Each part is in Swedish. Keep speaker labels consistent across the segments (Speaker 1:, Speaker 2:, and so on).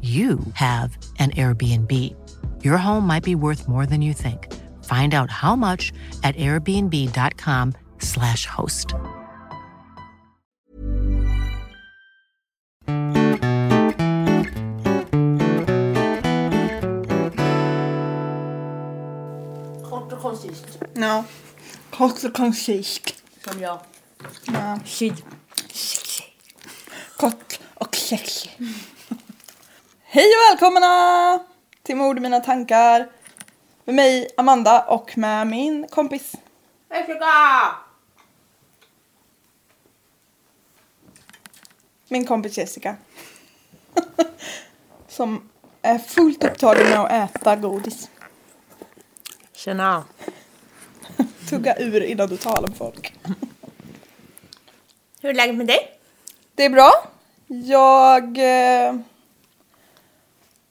Speaker 1: you have an Airbnb. Your home might be worth more than you think. Find out how much at airbnb.com/slash host.
Speaker 2: Kort och koncist,
Speaker 3: No. Kort och koncist.
Speaker 2: som jag.
Speaker 3: Ja.
Speaker 2: Sid.
Speaker 3: Kort och sexig. Hej och välkomna till Mord i mina tankar. Med mig Amanda och med min kompis.
Speaker 2: Hej flicka!
Speaker 3: Min kompis Jessica. Som är fullt upptagen med att äta godis.
Speaker 2: Tjena.
Speaker 3: Tugga ur innan du talar med folk.
Speaker 2: Hur är läget med dig?
Speaker 3: Det är bra. Jag eh,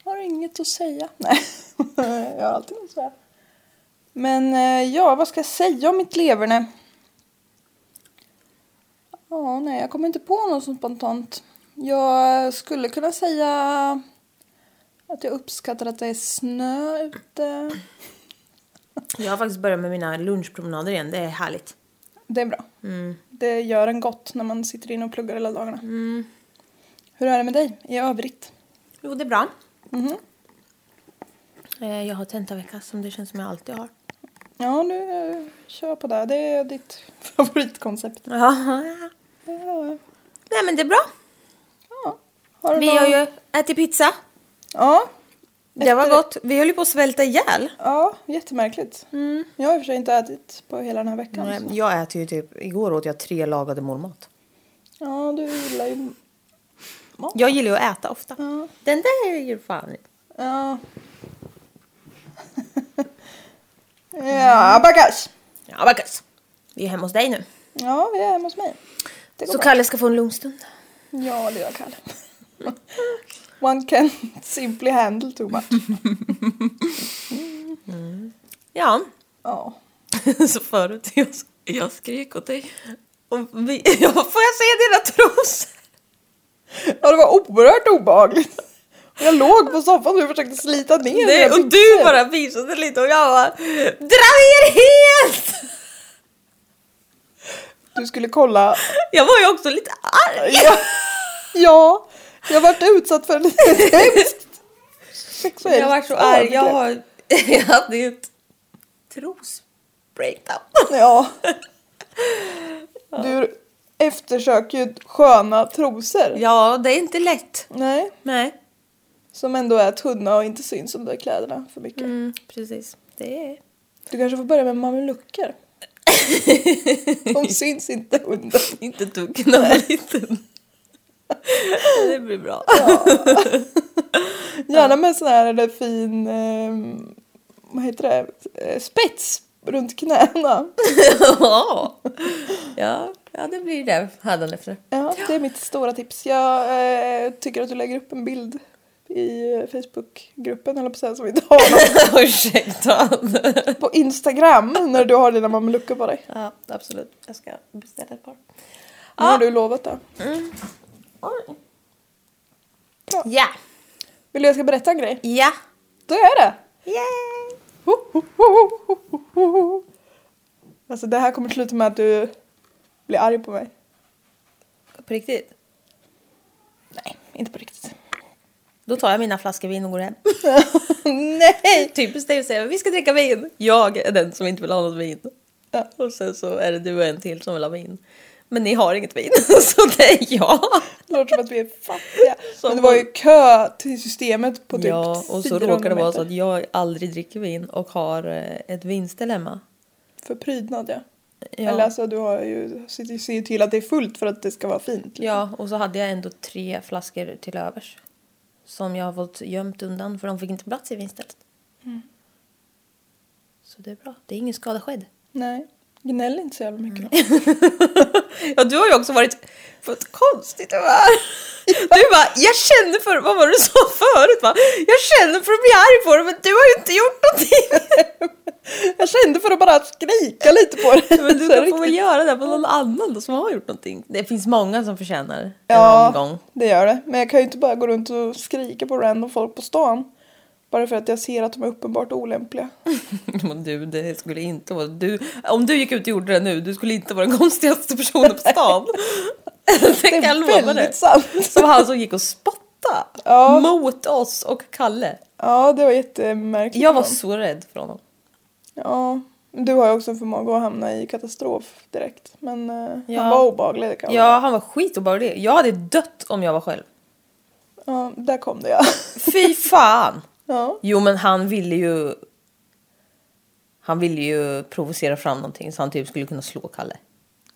Speaker 3: har inget att säga. Nej, jag har alltid något att säga. Men eh, ja, vad ska jag säga om mitt leverne? Ja, nej, jag kommer inte på något sånt spontant. Jag skulle kunna säga att jag uppskattar att det är snö ute.
Speaker 2: Jag har faktiskt börjat med mina lunchpromenader igen, det är härligt.
Speaker 3: Det är bra. Det gör en gott när man sitter inne och pluggar hela dagarna. Hur är det med dig i övrigt?
Speaker 2: Jo, det är bra. Mm-hmm. Eh, Jag har tentavecka som det känns som jag alltid har.
Speaker 3: Ja, nu eh, kör på det. Det är ditt favoritkoncept.
Speaker 2: Ja.
Speaker 3: Ja.
Speaker 2: Nej men det är bra.
Speaker 3: Ja. Har du
Speaker 2: Vi
Speaker 3: någon-
Speaker 2: har ju ätit pizza.
Speaker 3: Ja.
Speaker 2: Det var gott. Vi höll ju på att svälta ihjäl.
Speaker 3: ja, jättemärkligt.
Speaker 2: Mm.
Speaker 3: Jag har i och för sig inte ätit på hela den här veckan. så-
Speaker 2: Jag äter ju typ, igår åt jag tre lagade mormat.
Speaker 3: Ja, du gillar ju...
Speaker 2: Jag gillar ju att äta ofta. Den där är ju fan...
Speaker 3: Ja. ja,
Speaker 2: Mm.
Speaker 3: bagage.
Speaker 2: Ja, vad gött. Vi är hemma hos dig nu.
Speaker 3: Ja, vi är hemma hos mig. Det går
Speaker 2: Så
Speaker 3: bra.
Speaker 2: Kalle ska få en lugn stund.
Speaker 3: Ja, lilla Kalle. One can simply handle too much.
Speaker 2: Ja.
Speaker 3: Ja.
Speaker 2: så förut, jag, jag skrek åt dig. Och vi, ja, får jag se dina trosor?
Speaker 3: Ja, det var oerhört obehagligt. Och Jag låg på soffan och försökte slita ner
Speaker 2: Nej,
Speaker 3: mina
Speaker 2: och du
Speaker 3: byxor.
Speaker 2: bara visade lite och jag bara DRA NER HELT!
Speaker 3: Du skulle kolla.
Speaker 2: Jag var ju också lite arg.
Speaker 3: Ja, ja jag varit utsatt för en hemskt sexuellt
Speaker 2: Jag var så arg. Jag,
Speaker 3: övergrepp.
Speaker 2: har, jag hade ju ett tros-breakdown.
Speaker 3: Ja. Du eftersöker ju sköna trosor.
Speaker 2: Ja, det är inte lätt.
Speaker 3: Nej,
Speaker 2: Nej,
Speaker 3: som ändå är tunna och inte syns under kläderna för mycket.
Speaker 2: mm, precis. Det är...
Speaker 3: Du kanske får börja med mamelucker. De syns inte under.
Speaker 2: Inte duggen av en liten. Det blir bra.
Speaker 3: Gärna med sån här eller fin, eh, vad heter det, Eh, spets runt knäna.
Speaker 2: Ja. ja, Ja, det blir ju det hädan efter.
Speaker 3: Ja, det är mitt stora tips. Jag eh, tycker att du lägger upp en bild i eh, Facebookgruppen eller på så här som vi inte har någon.
Speaker 2: Ursäkta.
Speaker 3: på Instagram när du har dina mameluckor på dig.
Speaker 2: ja, absolut. Jag ska beställa ett par.
Speaker 3: Nu har du lovat det.
Speaker 2: Ja.
Speaker 3: Vill du jag ska berätta en grej?
Speaker 2: Ja.
Speaker 3: Då är det!
Speaker 2: Yay.
Speaker 3: Ho, ho, ho, ho, ho, ho. Alltså det här kommer sluta med att du blir arg på mig.
Speaker 2: På riktigt.
Speaker 3: Nej, inte på riktigt.
Speaker 2: Då tar jag mina flaskor vin och går hem. Nej! Typiskt dig att säga vi ska dricka vin. Jag är den som inte vill ha något vin. Ja, och sen så är det du och en till som vill ha vin. Men ni har inget vin, så det är jag.
Speaker 3: Det låter som att vi är fattiga.
Speaker 2: Som
Speaker 3: Men det var ju kö till systemet på typ
Speaker 2: ja, och så
Speaker 3: 400
Speaker 2: råkar det vara
Speaker 3: meter.
Speaker 2: så att jag aldrig dricker vin och har eh, ett vinställ hemma.
Speaker 3: För prydnad ja.
Speaker 2: Ja.
Speaker 3: Eller alltså du har ju, ser ser ju till att det är fullt för att det ska vara fint. liksom.
Speaker 2: ja, och så hade jag ändå tre flaskor till övers. Som jag har fått gömt undan för de fick inte plats i vinstället.
Speaker 3: Mm.
Speaker 2: Så det är bra, det är ingen skada skedd.
Speaker 3: Nej, gnäll inte så jävla mycket
Speaker 2: Mm.
Speaker 3: då.
Speaker 2: Ja, du har ju också varit på ett konstigt humör. Du bara, jag känner för, vad var det du sa förut va? Jag känner för att bli arg på dig men du har ju inte gjort någonting.
Speaker 3: Jag kände för att bara skrika lite på det.
Speaker 2: Men du
Speaker 3: Så här
Speaker 2: kan- får väl
Speaker 3: riktigt.
Speaker 2: göra det på någon annan då som har gjort någonting. Det finns många som förtjänar en omgång.
Speaker 3: Ja, det gör det. Men jag kan ju inte bara gå runt och skrika på random folk på stan. Bara för att jag ser att de är uppenbart olämpliga.
Speaker 2: Men du, det skulle inte vara, du, om du gick ut och gjorde det nu, du skulle inte vara den konstigaste personen på stan. det kan jag lova dig.
Speaker 3: väldigt sant.
Speaker 2: Som han som gick och spottade
Speaker 3: Ja.
Speaker 2: mot oss och Kalle.
Speaker 3: Ja, det var jättemärkligt.
Speaker 2: Jag var
Speaker 3: av dem.
Speaker 2: så rädd för honom.
Speaker 3: Ja, men du har ju också en förmåga att hamna i katastrof direkt. Men eh,
Speaker 2: Ja.
Speaker 3: han var obehaglig, det kan jag
Speaker 2: Ja, han var skitobehaglig. Jag hade dött om jag var själv.
Speaker 3: Ja, där kom det ja.
Speaker 2: Fy fan!
Speaker 3: ja.
Speaker 2: Jo, men han ville ju... Han ville ju provocera fram någonting så han typ skulle kunna slå Kalle.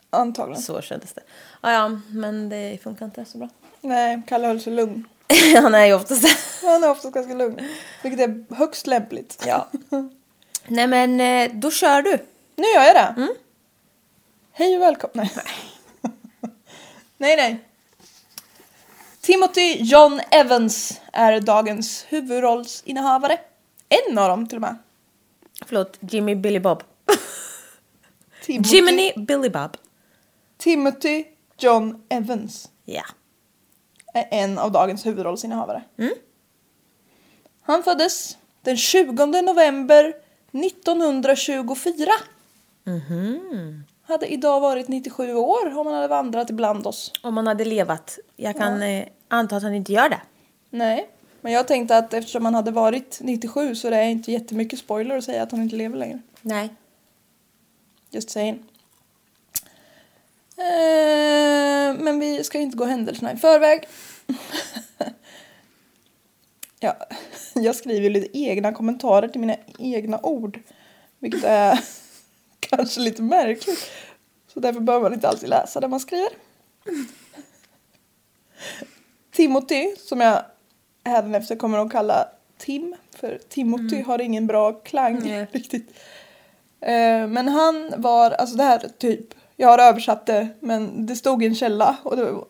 Speaker 3: Antagligen.
Speaker 2: Så kändes det. Ah, ja, men det funkar inte så bra.
Speaker 3: Nej, Kalle höll sig lugn.
Speaker 2: han är ju oftast
Speaker 3: Han är oftast ganska lugn. Vilket är högst lämpligt.
Speaker 2: Ja. Nej, men eh, då kör du.
Speaker 3: Nu gör jag det. Hej och välkomna. Nej. nej, nej. Timothy John Evans är dagens huvudrollsinnehavare. En av dem till och med.
Speaker 2: Förlåt, Jimmy Billy Bob.
Speaker 3: Timothy,
Speaker 2: Jiminy Billy Bob.
Speaker 3: Timothy John Evans.
Speaker 2: Ja.
Speaker 3: är en av dagens huvudrollsinnehavare. Han föddes den 20 november 1924. Hade idag varit 97 år om han hade vandrat ibland oss.
Speaker 2: Om han hade levat. Jag kan eh, anta att han inte gör det.
Speaker 3: Nej, men jag tänkte att eftersom han hade varit 97 så det är inte jättemycket spoiler att säga att han inte lever längre.
Speaker 2: Nej.
Speaker 3: Just saying. Eh, men vi ska ju inte gå händelserna i förväg. ja, jag skriver ju lite egna kommentarer till mina egna ord. Vilket är kanske lite märkligt. Så därför behöver man inte alltid läsa det man skriver. Timothy, som jag hädanefter kommer att kalla Tim. För Timothy har ingen bra klang
Speaker 2: Nej.
Speaker 3: riktigt. Eh, men han var, alltså det här typ, jag har översatt det men det stod i en källa och det, var,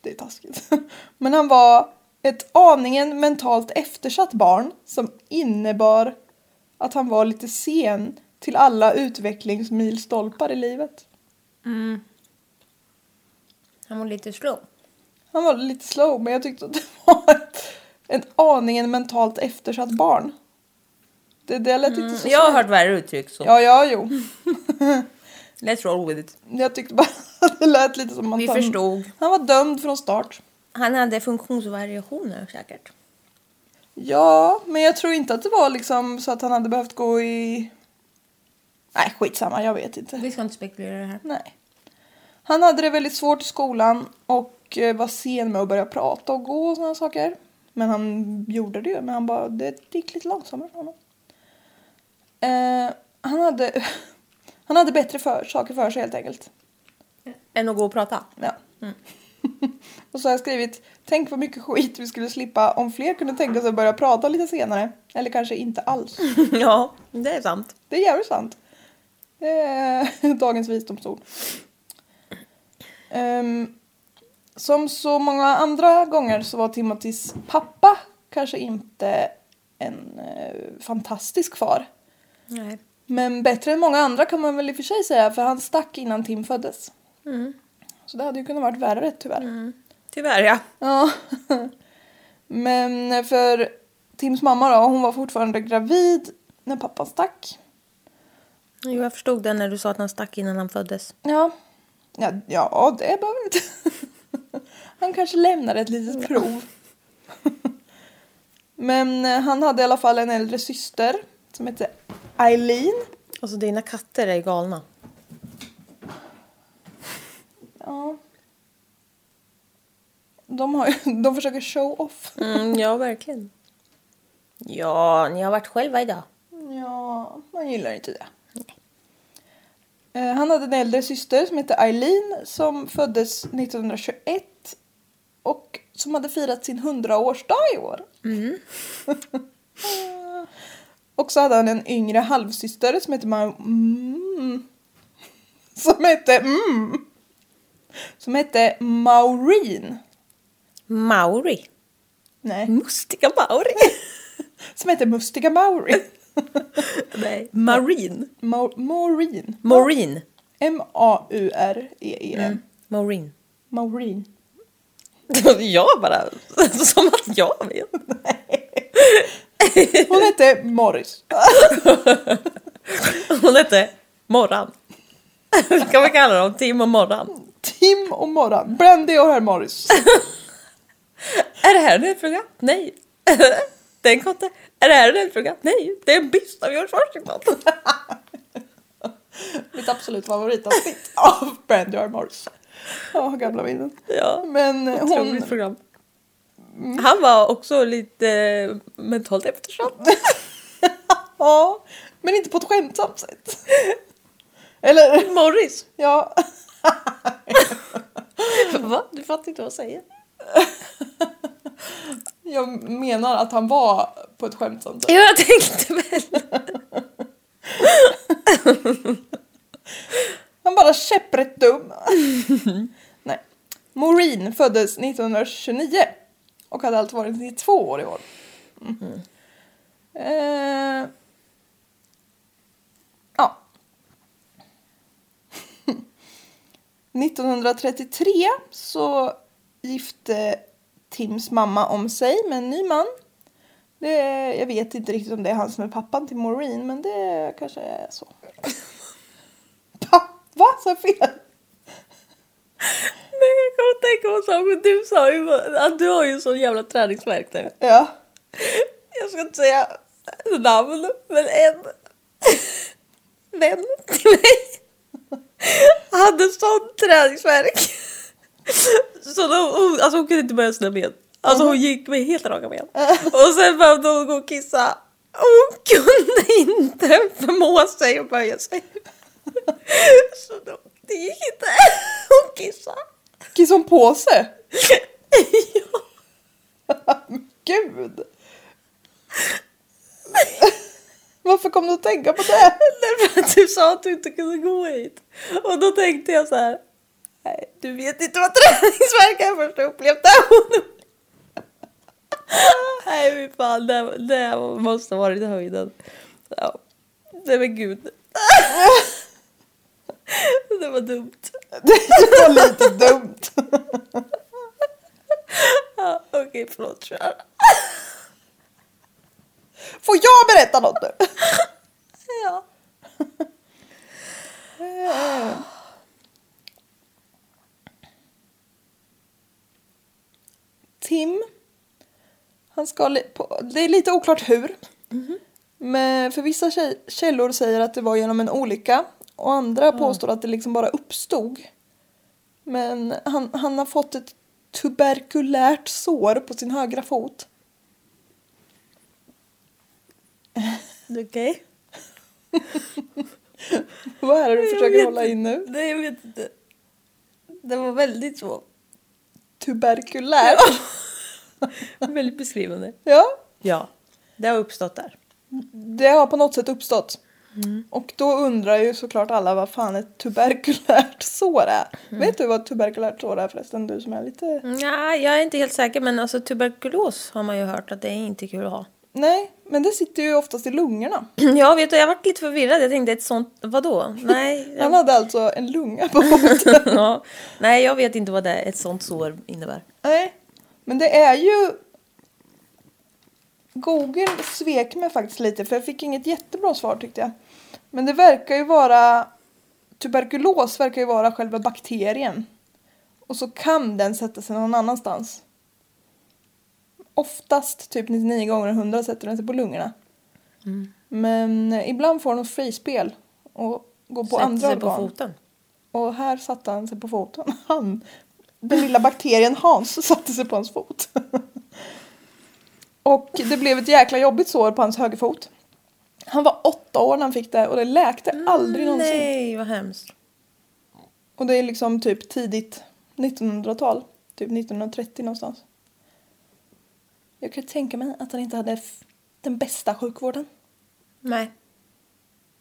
Speaker 3: det är taskigt. Men han var ett aningen mentalt eftersatt barn som innebar att han var lite sen till alla utvecklingsmilstolpar i livet.
Speaker 2: Han var lite slow.
Speaker 3: Han var lite slow men jag tyckte att det var ett, ett aningen mentalt eftersatt barn. Det, det lät inte så
Speaker 2: Mm, Jag har
Speaker 3: snällt.
Speaker 2: hört värre uttryck så
Speaker 3: Ja, ja, jo.
Speaker 2: let's roll with it.
Speaker 3: Jag tyckte bara att det lät lite som att
Speaker 2: Vi
Speaker 3: han,
Speaker 2: förstod.
Speaker 3: han var dömd från start.
Speaker 2: Han hade funktionsvariationer säkert.
Speaker 3: Ja, men jag tror inte att det var liksom så att han hade behövt gå i... Nej, skitsamma, jag vet inte.
Speaker 2: Vi ska inte spekulera i det här.
Speaker 3: Nej. Han hade det väldigt svårt i skolan och eh, var sen med att börja prata och gå och sådana saker. Men han gjorde det ju, men han bara, det gick lite långsammare för honom. Eh, han, hade, han hade bättre för, saker för sig helt enkelt.
Speaker 2: Än att gå och prata.
Speaker 3: Ja. Mm. och så har jag skrivit, tänk vad mycket skit vi skulle slippa om fler kunde tänka sig att börja prata lite senare. Eller kanske inte alls.
Speaker 2: ja, det är sant.
Speaker 3: Eh, Det är jävligt sant. Det är dagens visdomsord. Ehm, som så många andra gånger så var Timothys pappa kanske inte en eh, fantastisk far.
Speaker 2: Nej.
Speaker 3: Men bättre än många andra kan man väl i och för sig säga för han stack innan Tim föddes. Så det hade ju kunnat varit värre tyvärr.
Speaker 2: Tyvärr ja.
Speaker 3: Ja. Men för Tims mamma då, hon var fortfarande gravid när pappan stack.
Speaker 2: Jo, jag förstod det när du sa att han stack innan han föddes.
Speaker 3: Ja, ja, ja det behöver inte. Han kanske lämnade ett litet prov. Men eh, han hade i alla fall en äldre syster som hette Eileen.
Speaker 2: Alltså dina katter är galna.
Speaker 3: Ja. De, har, ju- de försöker show off.
Speaker 2: Mm, ja, verkligen. Ja, ni har varit själva idag.
Speaker 3: Ja, man gillar inte det. Eh, Han hade en äldre syster som hette Eileen som föddes 1921 och som hade firat sin 100-årsdag i år. och så hade han en yngre halvsyster som hette Ma- mm, som hette mm, som hette Maureen.
Speaker 2: Mauri.
Speaker 3: Nej,
Speaker 2: Mm. Mustiga Mauri.
Speaker 3: som hette Mustiga Maureen.
Speaker 2: Nej. Marine.
Speaker 3: Ma- Maureen.
Speaker 2: Maureen.
Speaker 3: M-A-U-R-E-E-N.
Speaker 2: Maureen.
Speaker 3: Maureen.
Speaker 2: jag bara... Som att jag vet.
Speaker 3: Hon hette Morris.
Speaker 2: Hon hette Morran. kan vi kalla dem Tim och Morran?
Speaker 3: Tim och Morran. Brandy och herr Morris.
Speaker 2: Är det här en fråga? Nej. det är en kotte. Är det här en fråga? Nej. Det är en byst av George Washington.
Speaker 3: Mitt absolut favoritavsnitt av Brandy och herr Morris. Ja, gamla minnen.
Speaker 2: ja.
Speaker 3: Men eh, hon...
Speaker 2: Otroligt program. Han var också lite eh, mentalt eftersatt.
Speaker 3: Ja, men inte på ett skämtsamt sätt. Eller,
Speaker 2: Morris.
Speaker 3: ja.
Speaker 2: Va? Du fattar inte vad jag säger.
Speaker 3: Jag menar att han var på ett skämtsamt sätt.
Speaker 2: Ja, jag tänkte väl.
Speaker 3: Han bara käpprätt dum. Nej. Maureen föddes 1929 och hade alltså varit 92 år i år. Mm. Eh. Ja. 1933 så gifte Tims mamma om sig med en ny man. Det, jag vet inte riktigt om det är han som är pappan till Maureen, men det kanske är så. Pappa? Va? Sa jag fel?
Speaker 2: Men jag kommer att tänka på en sak, men du sa ju att du har ju sån jävla träningsvärk nu.
Speaker 3: Ja.
Speaker 2: Jag ska inte säga namn, men en vän till mig hade sån träningsvärk. Så då, hon, alltså hon kunde inte börja sina ben. Alltså hon gick med helt raka ben. Och sen behövde hon gå och kissa. Hon kunde inte förmå sig att böja sig. Så då, det gick inte. Hon kissade.
Speaker 3: Kissade hon på sig?
Speaker 2: Ja.
Speaker 3: Gud! Varför kom du att tänka på det?
Speaker 2: Därför att du sa att du inte kunde gå hit. Och då tänkte jag så här. Nej, du vet inte vad träningsvärk är först jag upplevt det. Nej fy fan, det, det måste ha varit höjden. Ja. Nej men gud. Det var dumt.
Speaker 3: Det var lite dumt.
Speaker 2: Ja, Okej, förlåt. Kör.
Speaker 3: Får jag berätta något nu?
Speaker 2: Ja.
Speaker 3: Tim. Han ska li- på, det är lite oklart hur. Men för vissa kä- källor säger att det var genom en olycka och andra
Speaker 2: Mm.
Speaker 3: påstår att det liksom bara uppstod. Men han, han har fått ett tuberkulärt sår på sin högra fot.
Speaker 2: Okej.
Speaker 3: Vad är det du
Speaker 2: Jag
Speaker 3: försöker
Speaker 2: vet
Speaker 3: hålla in nu?
Speaker 2: Nej jag vet inte. Det var väldigt så.
Speaker 3: Tuberkulärt?
Speaker 2: Väldigt beskrivande.
Speaker 3: Ja,
Speaker 2: Ja. Det har uppstått där.
Speaker 3: det har på något sätt uppstått.
Speaker 2: Mm.
Speaker 3: Och då undrar ju såklart alla vad fan ett tuberkulärt sår är.
Speaker 2: Mm.
Speaker 3: Vet du vad ett tuberkulärt sår är förresten? Du som är lite...
Speaker 2: Ja, jag är inte helt säker, men alltså tuberkulos har man ju hört att det är inte kul att ha.
Speaker 3: Nej, men det sitter ju oftast i lungorna.
Speaker 2: Jag vet du, jag varit lite förvirrad. Jag tänkte ett sånt, vadå? Nej,
Speaker 3: Han
Speaker 2: jag,
Speaker 3: hade alltså en lunga på foten.
Speaker 2: ja, nej, jag vet inte vad det, ett sånt sår innebär.
Speaker 3: Nej, men det är ju... Google svek mig faktiskt lite för jag fick inget jättebra svar tyckte jag. Men det verkar ju vara... Tuberkulos verkar ju vara själva bakterien. Och så kan den sätta sig någon annanstans. Oftast, typ 99 gånger av 100, sätter den sig på lungorna.
Speaker 2: Mm.
Speaker 3: Men eh, ibland får den frispel och går på
Speaker 2: Sätter
Speaker 3: andra
Speaker 2: sig på
Speaker 3: organ.
Speaker 2: foten.
Speaker 3: Och här satte han sig på foten. Han, den lilla bakterien Hans satte sig på hans fot. Och det blev ett jäkla jobbigt sår på hans högerfot. Han var åtta år när han fick det och det läkte aldrig någonsin.
Speaker 2: Mm, Nej, vad hemskt.
Speaker 3: Och det är liksom typ tidigt 1900-tal. Typ 1930 någonstans. Jag kan tänka mig att han inte hade f- den bästa sjukvården.
Speaker 2: Nej.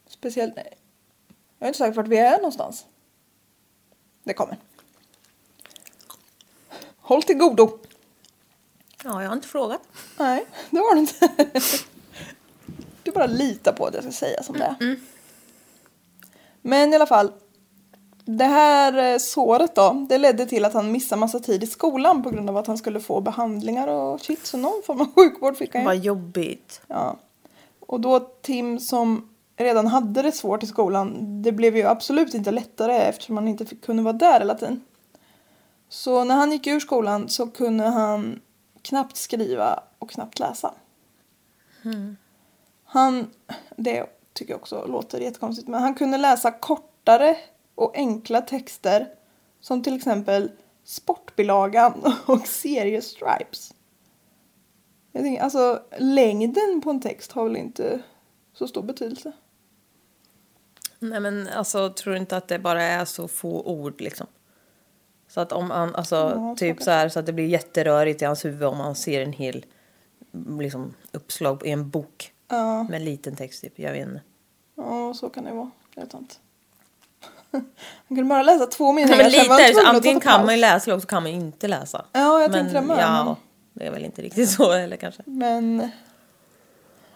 Speaker 3: Speciellt... nej. Jag är inte säker på vart vi är någonstans. Det kommer. Håll till godo.
Speaker 2: Ja, jag har inte frågat.
Speaker 3: Nej, det har du inte. Du bara litar på att jag ska säga som det är. Men i alla fall. Det här eh, såret då, det ledde till att han missade massa tid i skolan på grund av att han skulle få behandlingar och shit, så någon form av sjukvård fick han ju.
Speaker 2: Vad jobbigt.
Speaker 3: Ja. Och då Tim som redan hade det svårt i skolan, det blev ju absolut inte lättare eftersom han inte fick, kunde vara där hela tiden. Så när han gick ur skolan så kunde han knappt skriva och knappt läsa. Han, det tycker jag också låter jättekonstigt, men han kunde läsa kortare och enkla texter som till exempel Sportbilagan och Serious Stripes. Jag tänker, alltså längden på en text har väl inte så stor betydelse?
Speaker 2: Nej, men alltså, tror du inte att det bara är så få ord liksom? Så att om han, alltså,
Speaker 3: Ja,
Speaker 2: typ
Speaker 3: säkert.
Speaker 2: så här så att det blir jätterörigt i hans huvud om han ser en hel, liksom, uppslag i en bok
Speaker 3: Ja,
Speaker 2: med liten text typ. Jag vet inte.
Speaker 3: ja så kan det vara. Det är sant. Han kunde bara läsa två meningar.
Speaker 2: Nej, men
Speaker 3: sen var han
Speaker 2: lite,
Speaker 3: tvungen att
Speaker 2: antingen
Speaker 3: ta paus.
Speaker 2: kan man ju läsa eller också kan man ju inte läsa.
Speaker 3: Ja, jag
Speaker 2: men,
Speaker 3: tänkte det med,
Speaker 2: Ja,
Speaker 3: men-
Speaker 2: det är väl inte riktigt så heller kanske.
Speaker 3: Men...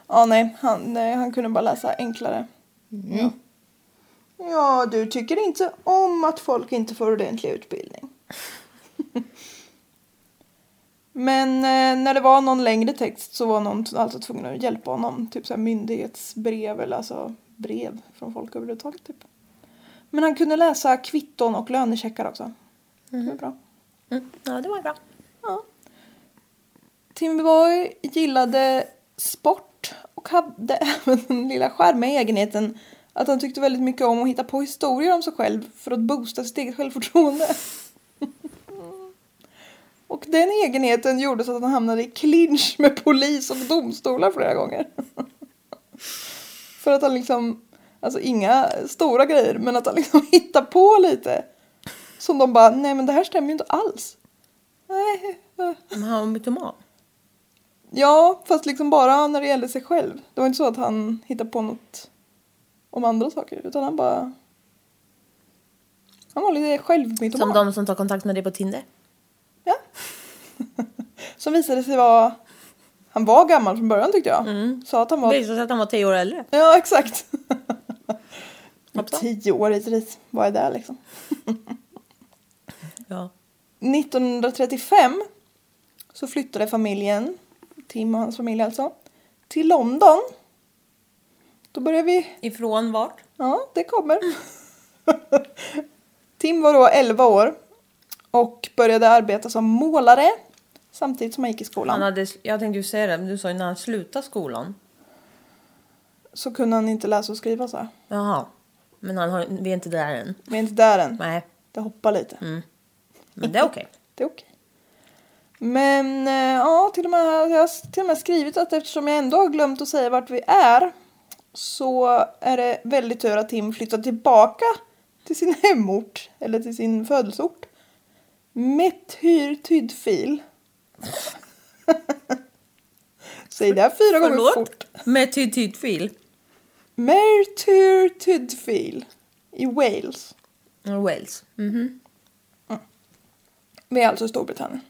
Speaker 3: Ja, nej han, nej, han kunde bara läsa enklare. Ja. ja, du tycker inte om att folk inte får ordentlig utbildning. Men eh, när det var någon längre text så var någon t- alltså tvungen att hjälpa honom. Typ så här myndighetsbrev eller alltså brev från folk överhuvudtaget. Typ. Men han kunde läsa kvitton och lönecheckar också. Det var bra.
Speaker 2: Mm. Ja, det var bra.
Speaker 3: Timberboy gillade sport och hade även den lilla charmiga egenheten att han tyckte väldigt mycket om att hitta på historier om sig själv för att boosta sitt eget självförtroende. Och den egenheten gjorde så att han hamnade i clinch med polis och domstolar flera gånger. För att han liksom, alltså inga stora grejer, men att han liksom hittar på lite. Som de bara, nej men det här stämmer ju inte alls. Nej,
Speaker 2: Men han var mytoman.
Speaker 3: Ja, fast liksom bara när det gällde sig själv. Det var inte så att han hittade på något om andra saker, utan han bara... Han var lite självmytoman.
Speaker 2: Som de som tar kontakt med dig på Tinder.
Speaker 3: Ja. som visade sig vara... Han var gammal från början tyckte jag. Sa att han
Speaker 2: Mm. Det
Speaker 3: var...
Speaker 2: visade sig att han var tio år äldre. Typ
Speaker 3: Ja, exakt.
Speaker 2: Hoppsan.
Speaker 3: Tio år hit och dit. Vad är det liksom?
Speaker 2: Ja.
Speaker 3: 1935 så flyttade familjen, Tim och hans familj alltså, till London. Då började vi
Speaker 2: Ifrån vart?
Speaker 3: Ja, det kommer. Tim var då 11 år och började arbeta som målare samtidigt som han gick i
Speaker 2: Han
Speaker 3: skolan.
Speaker 2: hade, jag tänkte ju säga det, men du sa ju när han slutade skolan.
Speaker 3: Så kunde han inte läsa och skriva så här.
Speaker 2: Jaha. Men han har, vi är inte där än.
Speaker 3: Vi är inte där än.
Speaker 2: Nej,
Speaker 3: Det hoppar lite.
Speaker 2: men det är okej.
Speaker 3: Det är okej. Men eh, ja, till och med, jag har till och med skrivit att eftersom jag ändå har glömt att säga vart vi är så är det väldigt tur att Tim flyttar tillbaka till sin hemort eller till sin födelseort. Methyr tydfil. Säg det här fyra gånger
Speaker 2: Förlåt? typ
Speaker 3: fort.
Speaker 2: Med tydfil.
Speaker 3: Mertyr Tydfil i Wales.
Speaker 2: Wales.
Speaker 3: Mm.
Speaker 2: Mhm.
Speaker 3: Det är alltså Storbritannien.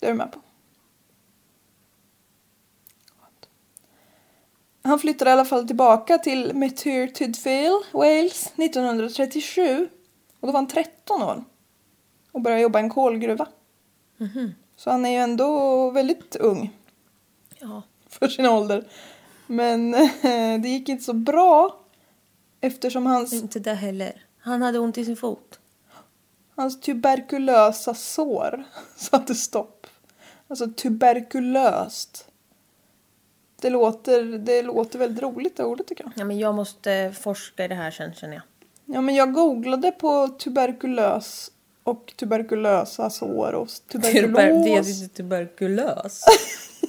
Speaker 3: Det är du med på. Han flyttade i alla fall tillbaka till Mertyr Tydfil, Wales, 1937. Och då var han 13 år och började jobba i en kolgruva. Så han är ju ändå väldigt ung
Speaker 2: Ja.
Speaker 3: för sin ålder. Men eh, det gick inte så bra eftersom hans,
Speaker 2: Inte det heller. Han hade ont i sin fot.
Speaker 3: hans tuberkulösa sår satte stopp. Alltså tuberkulöst. Det låter, det låter väldigt roligt det ordet tycker jag.
Speaker 2: Ja, men jag måste forska i det här sen känner jag.
Speaker 3: Ja men jag googlade på tuberkulös och tuberkulösa sår och tuberkulos.
Speaker 2: Tuber- det är inte tuberkulös.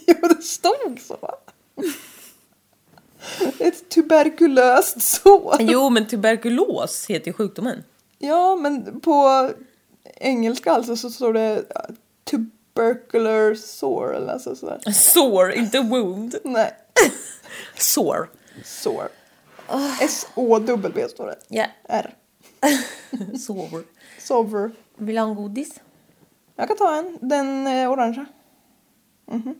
Speaker 3: Jo, det stod så. Ett tuberkulöst sår.
Speaker 2: jo, men tuberkulos heter ju sjukdomen.
Speaker 3: Ja, men på engelska alltså så står det ja, tubercular sore eller alltså sådär.
Speaker 2: Sore, inte wound.
Speaker 3: Nej,
Speaker 2: Sore.
Speaker 3: sore. S-O-W står det.
Speaker 2: Ja.
Speaker 3: R.
Speaker 2: Sore.
Speaker 3: Sover.
Speaker 2: Vill du ha en godis?
Speaker 3: Jag kan ta en. Den eh, orangea. Mhm.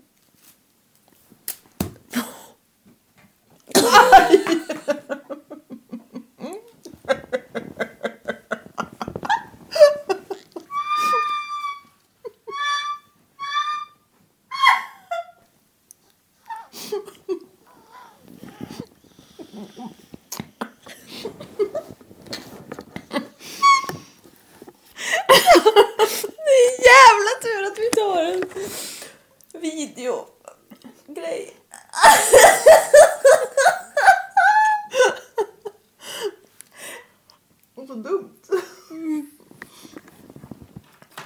Speaker 2: Jävla tur att vi tar en videogrej.
Speaker 3: Och så dumt.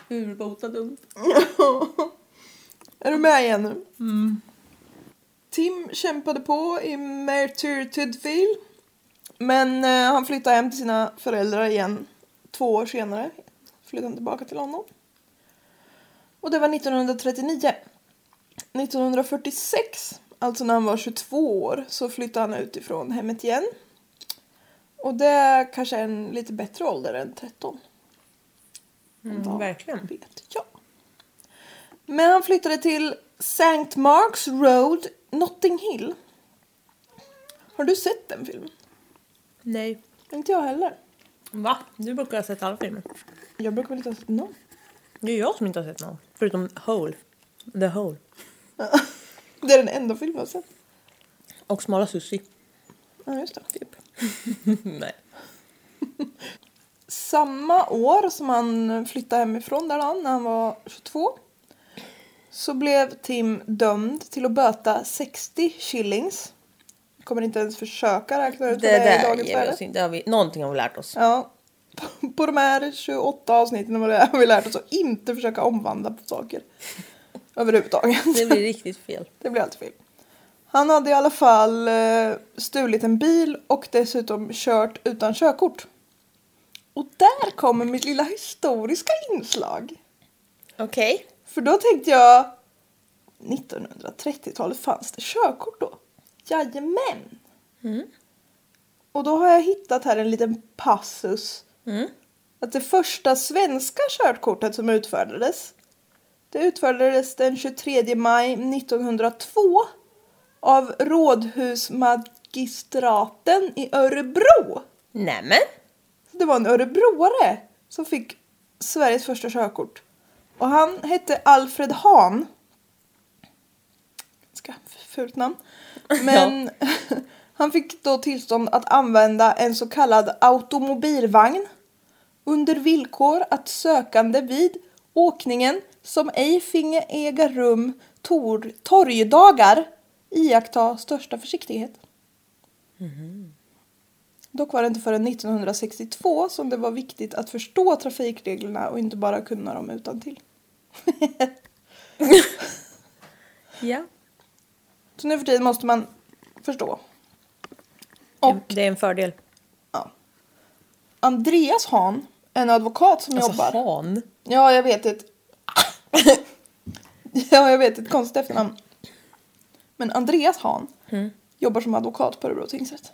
Speaker 2: Urbota dumt.
Speaker 3: Är du med igen nu? Tim kämpade på i Mertyr Tydfil. Men eh, han flyttade hem till sina föräldrar igen. Två år senare flyttade han tillbaka till London. Och det var 1939. 1946, alltså när han var 22 år, så flyttade han ut ifrån hemmet igen. Och det kanske är en lite bättre ålder än 13.
Speaker 2: Mm, verkligen.
Speaker 3: Vet jag. Men han flyttade till St. Mark's Road, Notting Hill. Har du sett den filmen?
Speaker 2: Nej.
Speaker 3: Inte jag heller.
Speaker 2: Va? Du brukar ha sett alla filmer.
Speaker 3: Jag brukar väl inte ha sett någon.
Speaker 2: Det är jag som inte har sett någon. Förutom Hole. The Hole.
Speaker 3: Det är den enda filmen jag har sett.
Speaker 2: Och Smala Sussi.
Speaker 3: Ja, just det. Typ.
Speaker 2: Nej.
Speaker 3: Samma år som han flyttade hemifrån där han, när han var 22 så blev Tim dömd till att böta 60 shillings. Jag kommer inte ens försöka räkna ut
Speaker 2: Det
Speaker 3: vad det är i
Speaker 2: där
Speaker 3: dagens
Speaker 2: ger vi
Speaker 3: värde.
Speaker 2: oss inte. Det har vi, någonting har vi lärt oss.
Speaker 3: Ja. På, på de här 28 avsnitten vad det är, har vi lärt oss att inte försöka omvandla på saker. Överhuvudtaget.
Speaker 2: Det blir riktigt fel.
Speaker 3: Det blir alltid fel. Han hade i alla fall eh, stulit en bil och dessutom kört utan körkort. Och där kommer mitt lilla historiska inslag.
Speaker 2: Okej.
Speaker 3: För då tänkte jag 1930-talet fanns det körkort då? Jajamän! Och då har jag hittat här en liten passus. Att det första svenska körkortet som utfärdades det utfärdades den 23 maj 1902 av Rådhusmagistraten i Örebro.
Speaker 2: Nämen.
Speaker 3: Så det var en örebroare som fick Sveriges första körkort. Och han hette Alfred Hahn. Ska, fult namn. Men han fick då tillstånd att använda en så kallad automobilvagn. Under villkor att sökande vid åkningen som ej finge äga rum tor- torgdagar iaktta största försiktighet. Dock var det inte förrän 1962 som det var viktigt att förstå trafikreglerna och inte bara kunna dem utan till.
Speaker 2: Ja.
Speaker 3: Så nu för tiden måste man förstå. Och
Speaker 2: Det är en fördel.
Speaker 3: ja. Andreas Hahn, en advokat som
Speaker 2: Alltså
Speaker 3: jobbar.
Speaker 2: han.
Speaker 3: Ja, jag vet ett... ja, jag vet ett konstigt efternamn. Men Andreas Hahn,
Speaker 2: Mm.
Speaker 3: Jobbar som advokat på Örebro tingsrätt.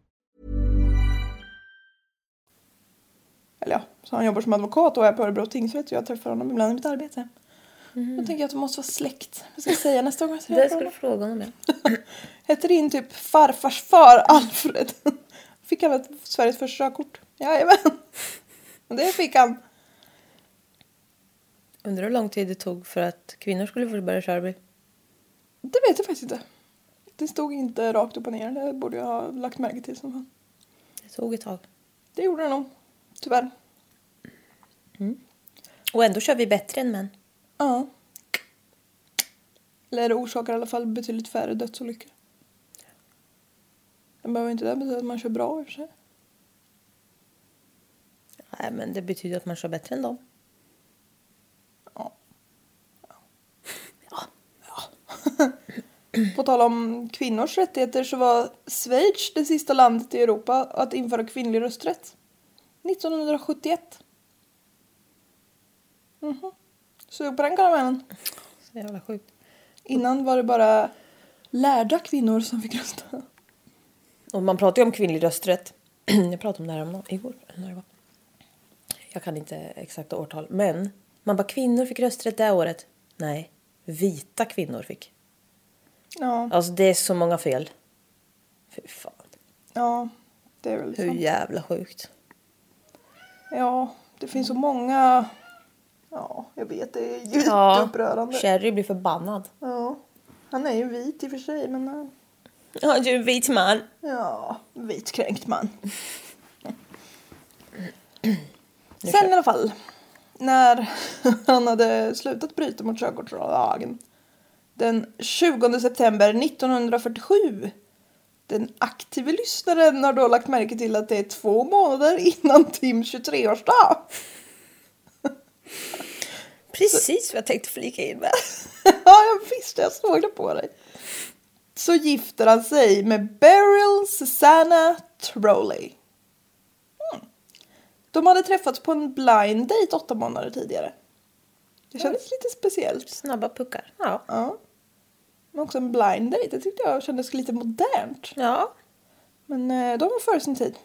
Speaker 3: Eller ja, så han jobbar som advokat och är på Örebro tingsrätt och jag träffar honom ibland i mitt arbete. Då tänker jag att de måste vara släkt. Jag ska säga nästa gång jag
Speaker 2: Mm. Det
Speaker 3: träffar
Speaker 2: skulle
Speaker 3: honom.
Speaker 2: du fråga honom det.
Speaker 3: Hette din typ farfars far Alfred? Fick han ett Sveriges första körkort? Jajamän. Och det fick han.
Speaker 2: Undrar hur lång tid det tog för att kvinnor skulle få börja köra bil.
Speaker 3: Det vet jag faktiskt inte. Det stod inte rakt upp och ner. Det borde jag ha lagt märke till som fan.
Speaker 2: Det tog ett tag.
Speaker 3: Det gjorde det nog. Tyvärr.
Speaker 2: Och ändå kör vi bättre än män.
Speaker 3: Ja. Eller det orsakar i alla fall betydligt färre dödsolyckor. Det behöver inte det betyda att man kör bra i och för sig.
Speaker 2: Nej, men det betyder att man kör bättre än dem.
Speaker 3: På tal om kvinnors rättigheter så var Schweiz det sista landet i Europa att införa kvinnlig rösträtt. 1971. Mhm. Sug på den karamellen.
Speaker 2: Så jävla sjukt.
Speaker 3: Innan var det bara lärda kvinnor som fick rösta.
Speaker 2: Och man pratar ju om kvinnlig rösträtt. Jag pratade om det här om igår. När det var. Jag kan inte exakta årtal. Men man bara kvinnor fick rösträtt det här året. Nej, vita kvinnor fick.
Speaker 3: Ja,
Speaker 2: Alltså det är så många fel. Fy fan.
Speaker 3: ja det är väl
Speaker 2: Hur
Speaker 3: sant.
Speaker 2: jävla sjukt.
Speaker 3: Ja, det finns så många... Ja, jag vet. Det är djupt upprörande.
Speaker 2: Sherry blir förbannad.
Speaker 3: Ja. Han är ju vit i och för sig, men... eh,
Speaker 2: Ja, du är en vit man.
Speaker 3: Ja, vitkränkt man. Sen i alla fall, när han hade slutat bryta mot körkortslagen den 20 september 1947. Den aktive lyssnaren har då lagt märke till att det är två månader innan Tims 23-årsdag.
Speaker 2: Precis vad jag tänkte flika in med.
Speaker 3: ja, jag visste, jag såg det på dig. Så gifter han sig med Beryl Susanna Trolley. Mm. De hade träffats på en blind date åtta månader tidigare. Det kändes lite speciellt.
Speaker 2: Snabba puckar. Ja.
Speaker 3: Ja. Men också en blind date, det tyckte jag kändes lite modernt.
Speaker 2: ja.
Speaker 3: Men eh, de var före sin tid.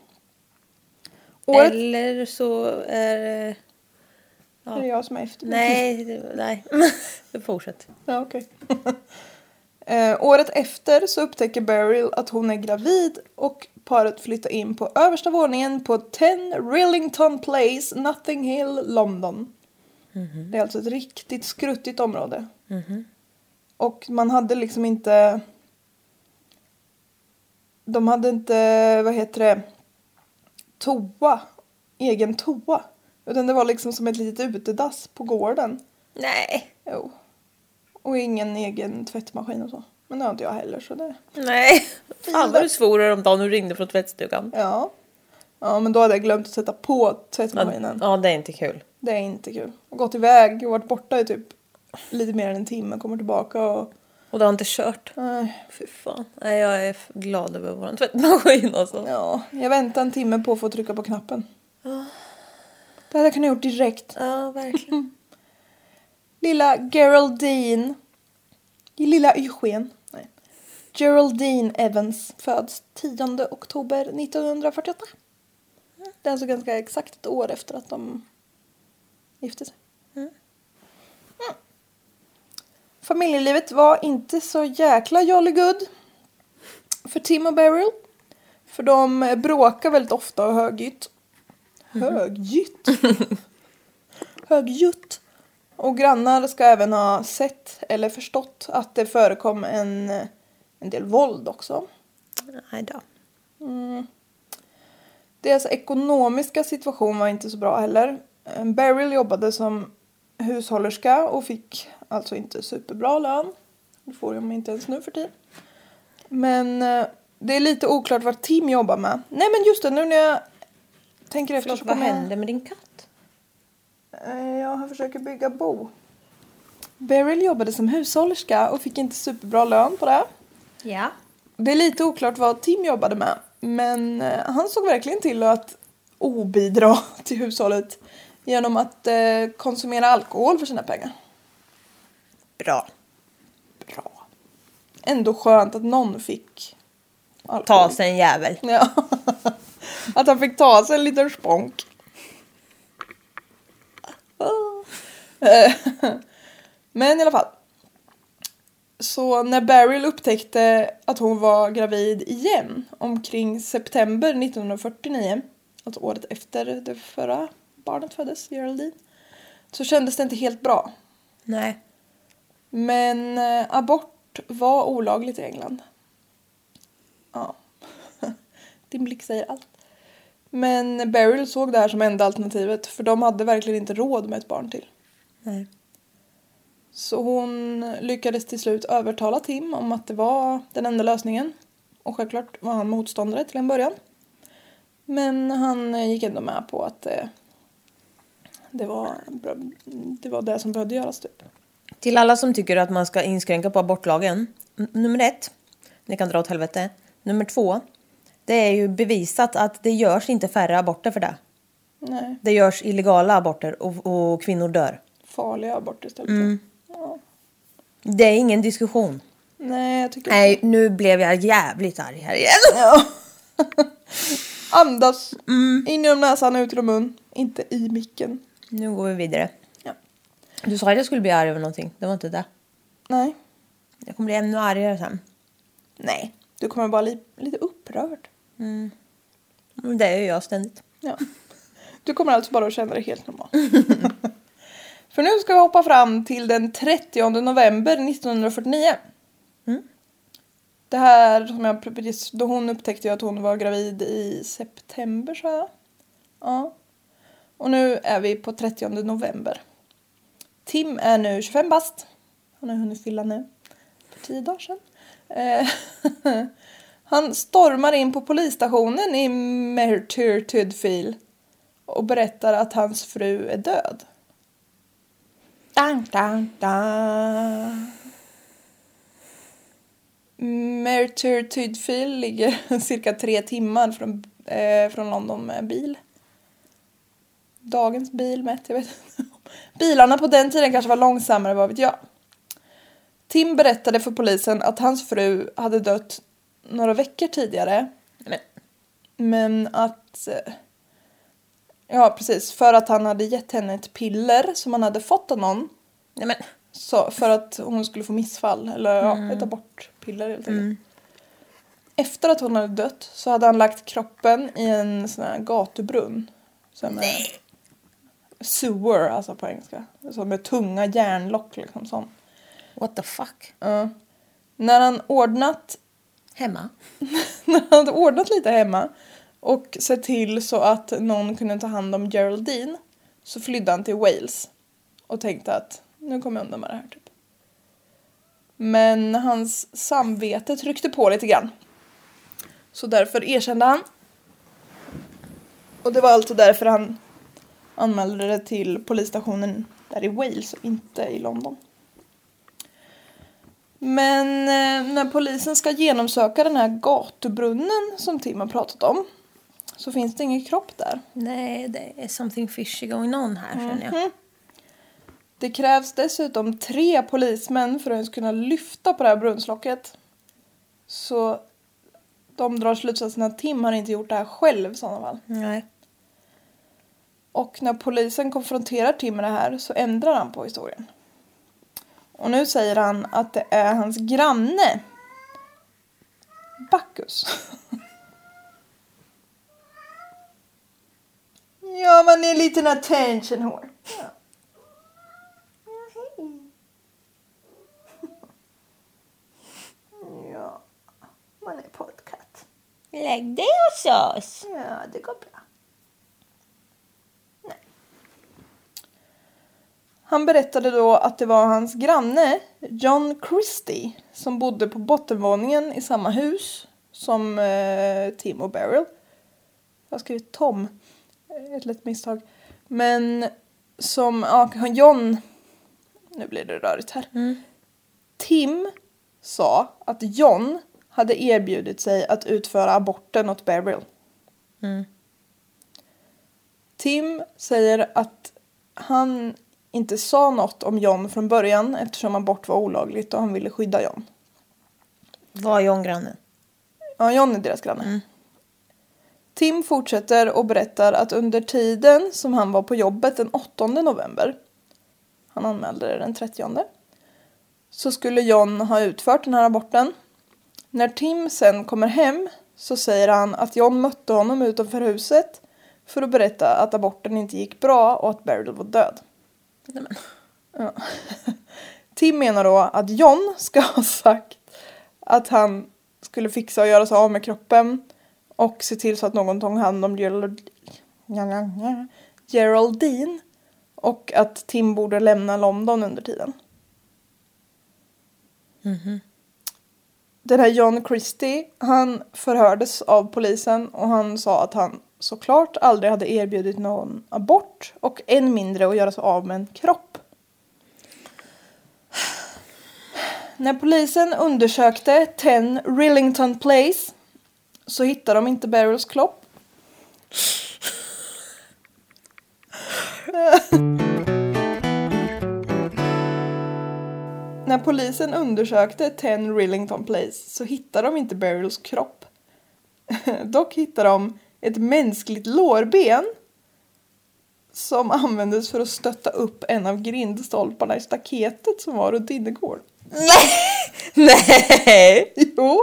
Speaker 3: Året
Speaker 2: Eller så är eh, det...
Speaker 3: är det jag som är efter.
Speaker 2: Nej, det- nej. Fortsätt.
Speaker 3: Ja, okej. eh, året efter så upptäcker Beryl att hon är gravid och paret flyttar in på översta våningen på 10 Rillington Place, Nothing Hill, London. Det är alltså ett riktigt skruttigt område. Och man hade liksom inte... De hade inte, vad heter det, toa, egen toa. Utan det var liksom som ett litet utedass på gården.
Speaker 2: Nej.
Speaker 3: Jo. Och ingen egen tvättmaskin och så. Men det har inte jag heller så det...
Speaker 2: Nej. Fan vad du svor häromdagen och ringde från tvättstugan.
Speaker 3: Ja. Ja men då hade jag glömt att sätta på tvättmaskinen.
Speaker 2: Ja, det är inte kul.
Speaker 3: Det är inte kul. Och gått iväg och varit borta i typ lite mer än en timme. Kommer tillbaka och...
Speaker 2: Och du har inte kört.
Speaker 3: Nej.
Speaker 2: Fy fan. Nej, jag är f- glad över vår tvättmaskin alltså.
Speaker 3: Ja, jag väntade en timme på att få trycka på knappen. Det hade jag kunnat gjort direkt.
Speaker 2: Ja, verkligen.
Speaker 3: Lilla Geraldine. Lilla Eugen. Nej. Geraldine Evans föds 10 oktober 1948. Det är alltså ganska exakt ett år efter att de gifte sig. Mm. Familjelivet var inte så jäkla jolly good för Tim och Beryl. För de bråkar väldigt ofta och högljutt. Högljutt? högljutt. Och grannar ska även ha sett eller förstått att det förekom en, en del våld också.
Speaker 2: Nej då.
Speaker 3: Deras ekonomiska situation var inte så bra heller. Eh, Beryl jobbade som hushållerska och fick alltså inte superbra lön. Det får de inte ens nu för tiden. Men eh, det är lite oklart vad Tim jobbar med. Nej men just det, nu när jag tänker efter
Speaker 2: Förlåt,
Speaker 3: så
Speaker 2: vad
Speaker 3: kommer jag-
Speaker 2: händer med din katt?
Speaker 3: Eh, Ja, han försöker bygga bo. Beryl jobbade som hushållerska och fick inte superbra lön på det.
Speaker 2: Ja.
Speaker 3: Det är lite oklart vad Tim jobbade med, men eh, han såg verkligen till att obidra till hushållet genom att eh, konsumera alkohol för sina pengar.
Speaker 2: Bra.
Speaker 3: Bra. Ändå skönt att någon fick
Speaker 2: Ta
Speaker 3: alkohol.
Speaker 2: sig en jävel.
Speaker 3: Ja. Att han fick ta sig en liten spånk. Eh, Men i alla fall. Så när Beryl upptäckte att hon var gravid igen omkring september 1949, alltså året efter det förra barnet föddes, Geraldine, så kändes det inte helt bra.
Speaker 2: Nej.
Speaker 3: Men eh, abort var olagligt i England. Ja. Din blick säger allt. Men Beryl såg det här som enda alternativet för de hade verkligen inte råd med ett barn till.
Speaker 2: Nej.
Speaker 3: Så hon lyckades till slut övertala Tim om att det var den enda lösningen. Och självklart var han motståndare till en början. Men han eh, gick ändå med på att eh, det var, det, var det som behövde göras typ.
Speaker 2: Till alla som tycker att man ska inskränka på abortlagen. n- Nummer ett, ni kan dra åt helvete. Nummer två, det är ju bevisat att det görs inte färre aborter för det.
Speaker 3: Nej,
Speaker 2: Det görs illegala aborter och, och kvinnor dör.
Speaker 3: farliga aborter istället. Ja.
Speaker 2: Det är ingen diskussion.
Speaker 3: Nej, jag tycker
Speaker 2: Nej, nu blev jag jävligt arg här igen.
Speaker 3: Ja. Andas in genom näsan, ut genom mun. Inte i micken.
Speaker 2: Nu går vi vidare.
Speaker 3: Ja.
Speaker 2: Du sa att jag skulle bli arg över någonting. Det var inte det.
Speaker 3: Nej.
Speaker 2: Jag kommer bli ännu argare sen.
Speaker 3: Nej. Du kommer bara li- lite upprörd.
Speaker 2: Men Det är ju jag ständigt.
Speaker 3: Ja. Du kommer alltså bara att känna dig helt normal. För nu ska vi hoppa fram till den 30 november 1949. Det här som jag precis, då hon upptäckte ju att hon var gravid i september sa jag. Ja. Och nu är vi på 30 november. Tim är nu 25 bast. Han har hunnit fylla nu. För 10 dagar sedan. Eh, Han stormar in på polisstationen i Mertur Tudfil och berättar att hans fru är död. Dang, dang, dang. Mertur Tudfil ligger cirka tre timmar från, eh, från London med bil. Dagens bil mätt, jag vet inte. Bilarna på den tiden kanske var långsammare, vad vet jag. Tim berättade för polisen att hans fru hade dött några veckor tidigare.
Speaker 2: Men,
Speaker 3: Men att... eh, Ja, precis. För att han hade gett henne ett piller som han hade fått av någon.
Speaker 2: nej men.
Speaker 3: Så, för att hon skulle få missfall, eller ja,
Speaker 2: Mm.
Speaker 3: ett abortpiller helt enkelt. Efter att hon hade dött så hade han lagt kroppen i en sån här gatubrunn. Som är- Sewer, alltså på engelska. Alltså med tunga järnlock liksom sån.
Speaker 2: What the fuck?
Speaker 3: Ja. När han ordnat
Speaker 2: Hemma?
Speaker 3: när han hade ordnat lite hemma och sett till så att någon kunde ta hand om Geraldine så flydde han till Wales och tänkte att nu kommer jag undan med det här typ. Men hans samvete tryckte på lite grann. Så därför erkände han. Och det var alltså därför han anmälde det till polisstationen där i Wales och inte i London. Men eh, när polisen ska genomsöka den här gatubrunnen som Tim har pratat om så finns det ingen kropp där.
Speaker 2: Nej, det är something fishy going on här känner jag.
Speaker 3: Det krävs dessutom tre polismän för att ens kunna lyfta på det här brunnslocket. Så de drar slutsatsen att Tim har inte gjort det här själv i sådana fall.
Speaker 2: Nej.
Speaker 3: Och när polisen konfronterar Tim med det här så ändrar han på historien. Och nu säger han att det är hans granne. Bacchus. ja, man är en liten attention whore. Ja. Ja, hej. ja, man är poddkatt.
Speaker 2: Lägg dig hos oss.
Speaker 3: Ja, det går bra. Han berättade då att det var hans granne John Christie som bodde på bottenvåningen i samma hus som eh, Tim och Beryl. Jag har skrivit Tom. eh, Ett lätt misstag. Men som ja, John... Nu blir det rörigt här. Tim sa att John hade erbjudit sig att utföra aborten åt Beryl. Tim säger att han inte sa något om John från början eftersom abort var olagligt och han ville skydda John.
Speaker 2: Var John grannen?
Speaker 3: Ja, John är deras granne. Tim fortsätter och berättar att under tiden som han var på jobbet den 8 november, han anmälde det den 30, så skulle John ha utfört den här aborten. När Tim sen kommer hem så säger han att John mötte honom utanför huset för att berätta att aborten inte gick bra och att Beryl var död. Ja. Tim menar då att John ska ha sagt att han skulle fixa och göra sig av med kroppen och se till så att någon tog hand om Gerald- Geraldine och att Tim borde lämna London under tiden. Den här John Christie, han förhördes av polisen och han sa att han såklart aldrig hade erbjudit någon abort och än mindre att göra sig av med en kropp. När polisen undersökte 10 Rillington Place så hittade de inte Beryls kropp. När polisen undersökte 10 Rillington Place så hittade de inte Beryls kropp. Dock hittade de ett mänskligt lårben som användes för att stötta upp en av grindstolparna i staketet som var runt innergården.
Speaker 2: Nej!
Speaker 3: Jo.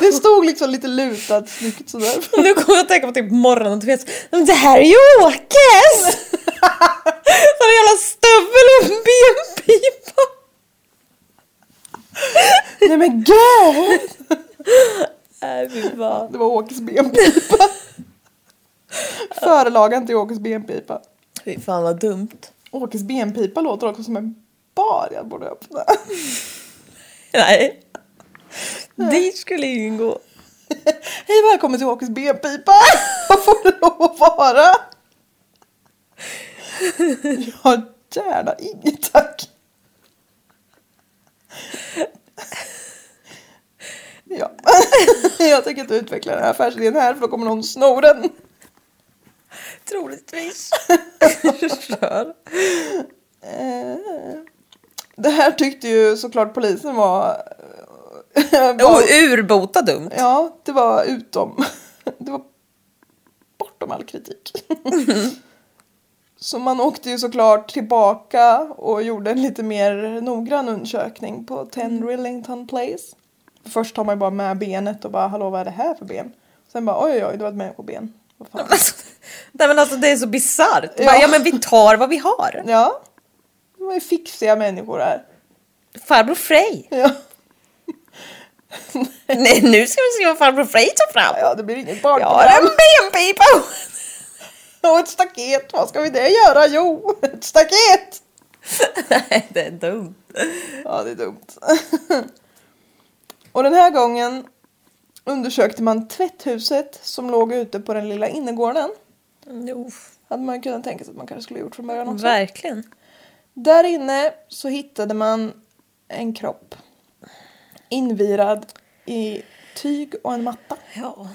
Speaker 3: Det stod liksom lite lutat snyggt sådär.
Speaker 2: Nu kommer jag att tänka på typ morgonen du vet. Men det här är ju Åkes! Han har en jävla stövel och en benpipa.
Speaker 3: Nej men gud!
Speaker 2: Nej fy fan.
Speaker 3: Det var Åkes benpipa. Förelagan till Åkes benpipa.
Speaker 2: Fy fan vad dumt.
Speaker 3: Åkes benpipa låter också som en bar jag borde öppna.
Speaker 2: Nej. Dit skulle ingen gå.
Speaker 3: Hej välkommen till Åkes benpipa! Vad får det lov att vara? Ja gärna inget tack. Ja. Jag tänker inte utveckla den här affärsidén här för då kommer någon sno den.
Speaker 2: Troligtvis.
Speaker 3: Eh, Det här tyckte ju såklart polisen var... eh,
Speaker 2: Oh,
Speaker 3: var
Speaker 2: urbota dumt.
Speaker 3: ja, det var utom... Det var bortom all kritik. Så man åkte ju såklart tillbaka och gjorde en lite mer noggrann undersökning på 10
Speaker 2: Mm.
Speaker 3: Rillington Place. Först tar man ju bara med benet och bara hallå vad är det här för ben? Sen bara oj oj oj det var ett människoben. Vad fan?
Speaker 2: Alltså, nej men alltså det är så bisarrt. Ja.
Speaker 3: Ja.
Speaker 2: ja men vi tar vad vi har.
Speaker 3: Ja, det var ju fixiga människor här.
Speaker 2: Farbror Frej.
Speaker 3: Ja,
Speaker 2: Nej nu ska vi se vad farbror Frej tar fram.
Speaker 3: ja det blir inget
Speaker 2: Jag har en
Speaker 3: barnprogram.
Speaker 2: benpipa.
Speaker 3: Och ett staket, vad ska vi det göra? Jo, ett staket!
Speaker 2: Nej det är dumt.
Speaker 3: Ja, det är dumt. Och den här gången undersökte man tvätthuset som låg ute på den lilla innergården.
Speaker 2: Jo,
Speaker 3: Hade man ju kunnat tänka sig att man kanske skulle gjort från början också.
Speaker 2: verkligen.
Speaker 3: Där inne så hittade man en kropp invirad i tyg och en matta.
Speaker 2: Ja,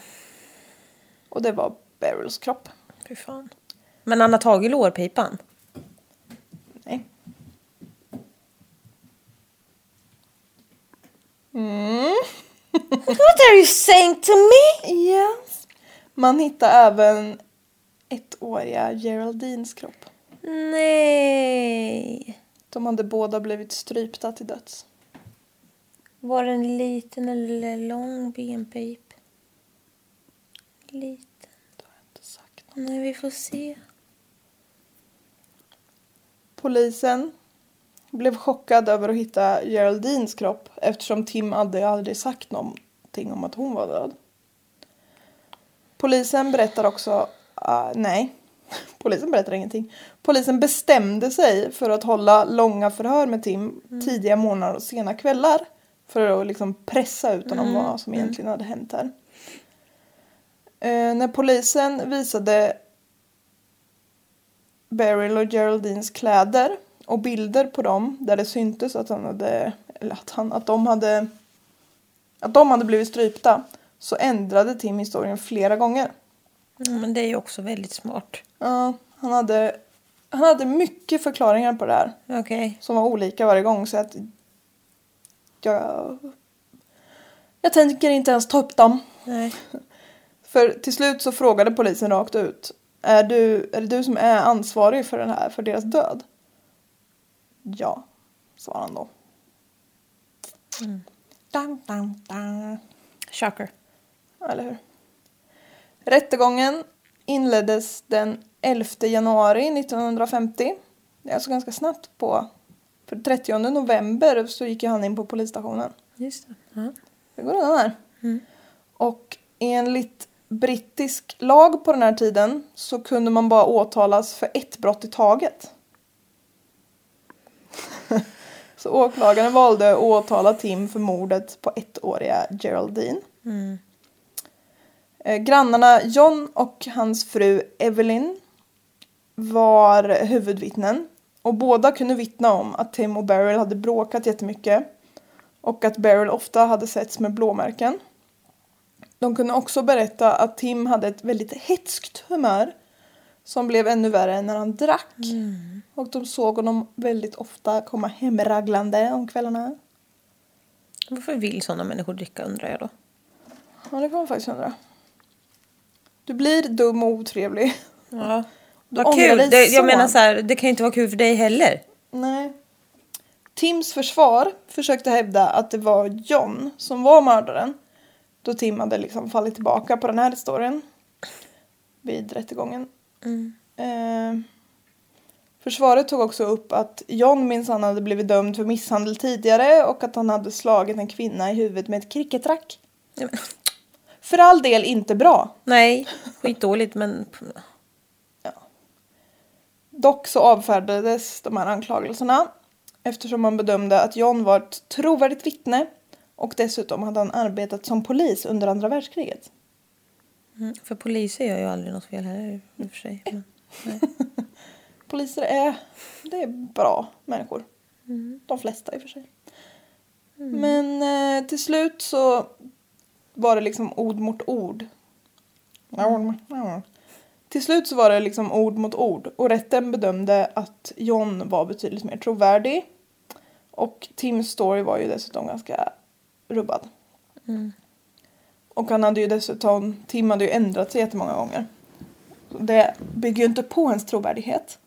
Speaker 3: Och det var Beryls kropp.
Speaker 2: fy fan. Men han har tagit lårpipan.
Speaker 3: Nej. Mm.
Speaker 2: What are you saying to me?
Speaker 3: Yes. Man hittade även ettåriga Geraldines kropp.
Speaker 2: Nej.
Speaker 3: De hade båda blivit strypta till döds.
Speaker 2: Var det en liten eller lång benpip? Liten.
Speaker 3: Det har jag inte sagt.
Speaker 2: Nej, vi får se.
Speaker 3: Polisen blev chockad över att hitta Geraldines kropp eftersom Tim hade aldrig sagt någonting om att hon var död. Polisen berättar också... ah, nej, polisen berättar ingenting. Polisen bestämde sig för att hålla långa förhör med Tim tidiga morgnar och sena kvällar för att liksom pressa ut honom vad som egentligen hade hänt här. Eh, när polisen visade Beryl och Geraldines kläder och bilder på dem där det syntes att han hade eller att, han, att de hade att de hade blivit strypta så ändrade Tim historien flera gånger.
Speaker 2: Mm, men det är ju också väldigt smart.
Speaker 3: Ja, han hade han hade mycket förklaringar på det här
Speaker 2: Okej.
Speaker 3: som var olika varje gång så att jag jag tänker inte ens ta upp dem.
Speaker 2: Nej.
Speaker 3: För till slut så frågade polisen rakt ut. Är, du, är det du som är ansvarig för, den här, för deras död? Ja, svarade han då. Dun, dun, dun.
Speaker 2: Shocker.
Speaker 3: Eller hur? Rättegången inleddes den 11 januari 1950. Det är alltså ganska snabbt på. För 30 november så gick ju han in på polisstationen.
Speaker 2: Just det. Ja.
Speaker 3: Det går undan här. Och enligt brittisk lag på den här tiden så kunde man bara åtalas för ett brott i taget. så åklagaren valde att åtala Tim för mordet på ettåriga Geraldine. Eh, Grannarna John och hans fru Evelyn var huvudvittnen och båda kunde vittna om att Tim och Beryl hade bråkat jättemycket och att Beryl ofta hade setts med blåmärken. De kunde också berätta att Tim hade ett väldigt hetskt humör som blev ännu värre när han drack.
Speaker 2: Mm.
Speaker 3: Och de såg honom väldigt ofta komma hemraglande om kvällarna.
Speaker 2: Varför vill sådana människor dricka undrar jag då?
Speaker 3: Ja, det kan man faktiskt undra. Du blir dum och otrevlig.
Speaker 2: Ja.
Speaker 3: Du
Speaker 2: Vad
Speaker 3: ångrar
Speaker 2: kul!
Speaker 3: dig
Speaker 2: Det,
Speaker 3: så.
Speaker 2: jag menar så här, det kan ju inte vara kul för dig heller.
Speaker 3: Nej. Tims försvar försökte hävda att det var John som var mördaren. Då Tim hade liksom fallit tillbaka på den här historien. Vid rättegången. Eh, försvaret tog också upp att John minsann hade blivit dömd för misshandel tidigare och att han hade slagit en kvinna i huvudet med ett cricketrack.
Speaker 2: Ja, men-
Speaker 3: För all del inte bra.
Speaker 2: Nej, skitdåligt men...
Speaker 3: Dock så avfärdades de här anklagelserna eftersom man bedömde att John var ett trovärdigt vittne och dessutom hade han arbetat som polis under andra världskriget.
Speaker 2: Mm, För poliser gör ju aldrig något fel heller i och för sig. Men,
Speaker 3: Poliser är, det är bra människor. De flesta i och för sig. Men eh, till slut så var det liksom ord mot ord. Till slut så var det liksom ord mot ord och rätten bedömde att John var betydligt mer trovärdig. Och Tims story var ju dessutom ganska rubbad. Och han hade ju dessutom, Tim hade ju ändrat sig jättemånga gånger. Så Det bygger ju inte på hans trovärdighet.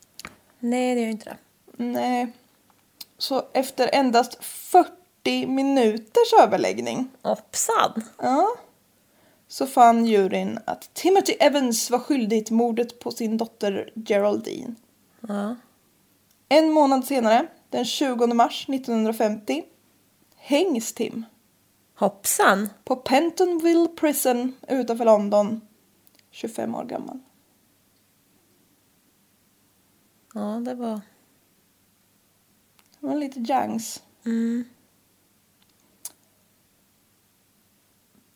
Speaker 2: nej, det gör ju inte det.
Speaker 3: Nej. Så efter endast 40 minuters överläggning
Speaker 2: Hoppsan!
Speaker 3: ja, så fann juryn att Timothy Evans var skyldig till mordet på sin dotter Geraldine.
Speaker 2: Ja.
Speaker 3: En månad senare, den 20 mars 1950, hängs Tim
Speaker 2: Hoppsan!
Speaker 3: på Pentonville Prison utanför London, 25 år gammal.
Speaker 2: Ja, det var...
Speaker 3: Det var lite jangs.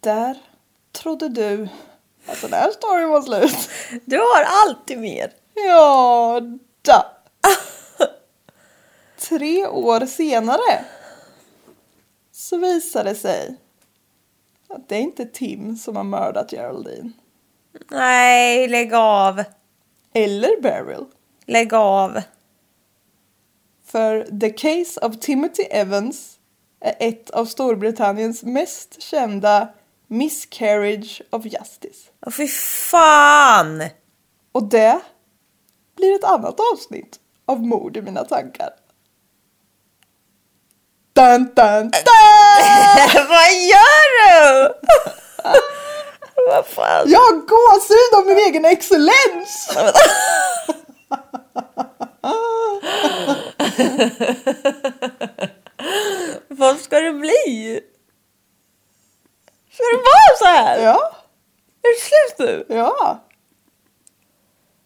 Speaker 3: Där trodde du att den här storyn var slut.
Speaker 2: Du har alltid mer!
Speaker 3: Ja, da. Tre år senare så visar det sig att det är inte Tim som har mördat Geraldine.
Speaker 2: Nej, lägg av!
Speaker 3: Eller Beryl.
Speaker 2: Lägg av!
Speaker 3: För The Case of Timothy Evans är ett av Storbritanniens mest kända miscarriage of justice.
Speaker 2: Åh, fy fan!
Speaker 3: Och det blir ett annat avsnitt av Mord i mina tankar. Dun, dun, dun!
Speaker 2: Vad gör du? Vad fan?
Speaker 3: Jag har gåshud av min egen excellens!
Speaker 2: Vad ska det bli? Ska det vara så här?
Speaker 3: Ja,
Speaker 2: Är det slut nu?
Speaker 3: ja.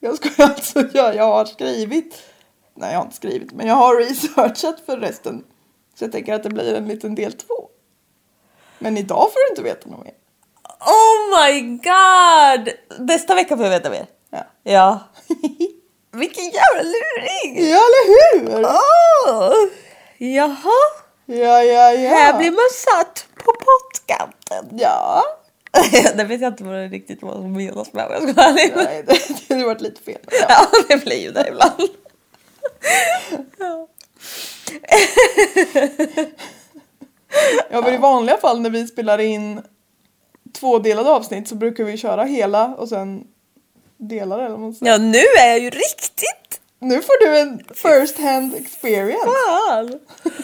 Speaker 3: Jag ska alltså göra, jag har skrivit. Nej, jag har inte skrivit, men jag har researchat för resten. Så jag tänker att det blir en liten del två. Men idag får du inte veta något mer.
Speaker 2: Oh my god! Nästa vecka får jag veta mer.
Speaker 3: Ja,
Speaker 2: Ja. Vilken jävla luring!
Speaker 3: ja eller hur?
Speaker 2: Åh! Jaha,
Speaker 3: Ja, ja, ja.
Speaker 2: här blir man satt på pottkanten.
Speaker 3: Ja.
Speaker 2: det vet jag inte vad det riktigt vad som menas med. Jag ska vara ärlig.
Speaker 3: Nej, det, det har varit lite fel. Ja.
Speaker 2: Ja, det blir ju det ibland.
Speaker 3: Ja, men i vanliga fall när vi spelar in tvådelade avsnitt så brukar vi köra hela och sen delar eller vad man säger.
Speaker 2: Ja, nu är jag ju riktigt
Speaker 3: Nu får du en first hand experience.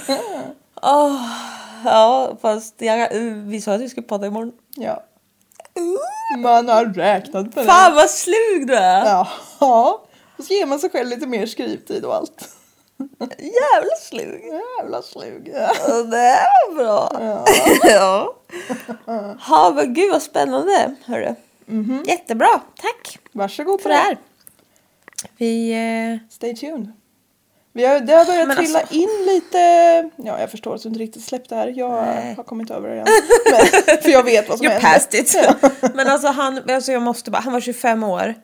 Speaker 2: fan. Åh, ja, fast jag, vi sa att vi skulle podda imorgon.
Speaker 3: Ja. Man har räknat på det.
Speaker 2: Fan vad slug du är!
Speaker 3: Ja. ja. Och så ger man sig själv lite mer skrivtid och allt.
Speaker 2: Jävla slug!
Speaker 3: Jävla slug. Ja.
Speaker 2: Ja, Det var bra. Ja. ja. men gud vad spännande. Hörru.
Speaker 3: Mhm.
Speaker 2: Jättebra. Tack
Speaker 3: Varsågod
Speaker 2: för det här. Vi... Eh...
Speaker 3: Stay tuned. Vi har, det har börjat
Speaker 2: Men
Speaker 3: trilla
Speaker 2: alltså-
Speaker 3: in lite... Ja, jag förstår att du inte riktigt släppte det här. Jag
Speaker 2: Nej.
Speaker 3: har kommit över det än. Men, för jag vet vad som
Speaker 2: You're
Speaker 3: händer.
Speaker 2: past it. Men alltså han, alltså jag måste bara, han var 25 år.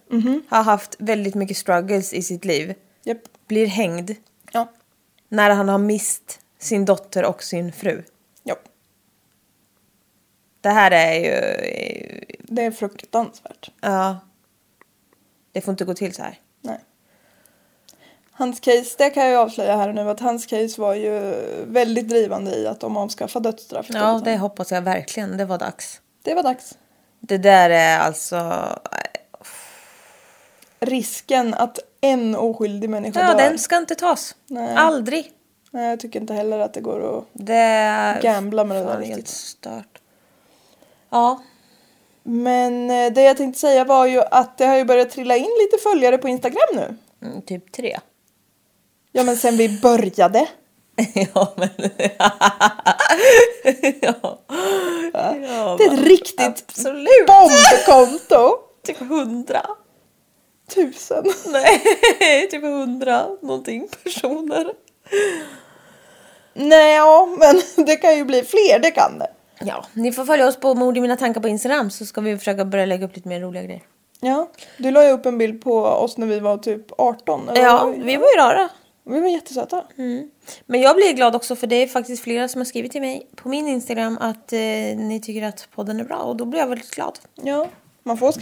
Speaker 2: Har haft väldigt mycket struggles i sitt liv.
Speaker 3: Japp.
Speaker 2: Blir hängd
Speaker 3: Ja.
Speaker 2: när han har mist sin dotter och sin fru.
Speaker 3: ja.
Speaker 2: Det här är ju...
Speaker 3: Det är fruktansvärt.
Speaker 2: Ja. Det får inte gå till så här.
Speaker 3: Nej. Hans case, det kan jag ju avslöja här nu, att hans case var ju väldigt drivande i att de avskaffade dödsstraffet.
Speaker 2: Ja, det hoppas jag verkligen. Det var dags.
Speaker 3: det var dags.
Speaker 2: Det där är alltså...
Speaker 3: eh,
Speaker 2: mm, typ typ
Speaker 3: typ
Speaker 2: eh, ehm, eh,
Speaker 3: Typ.
Speaker 2: Ehm,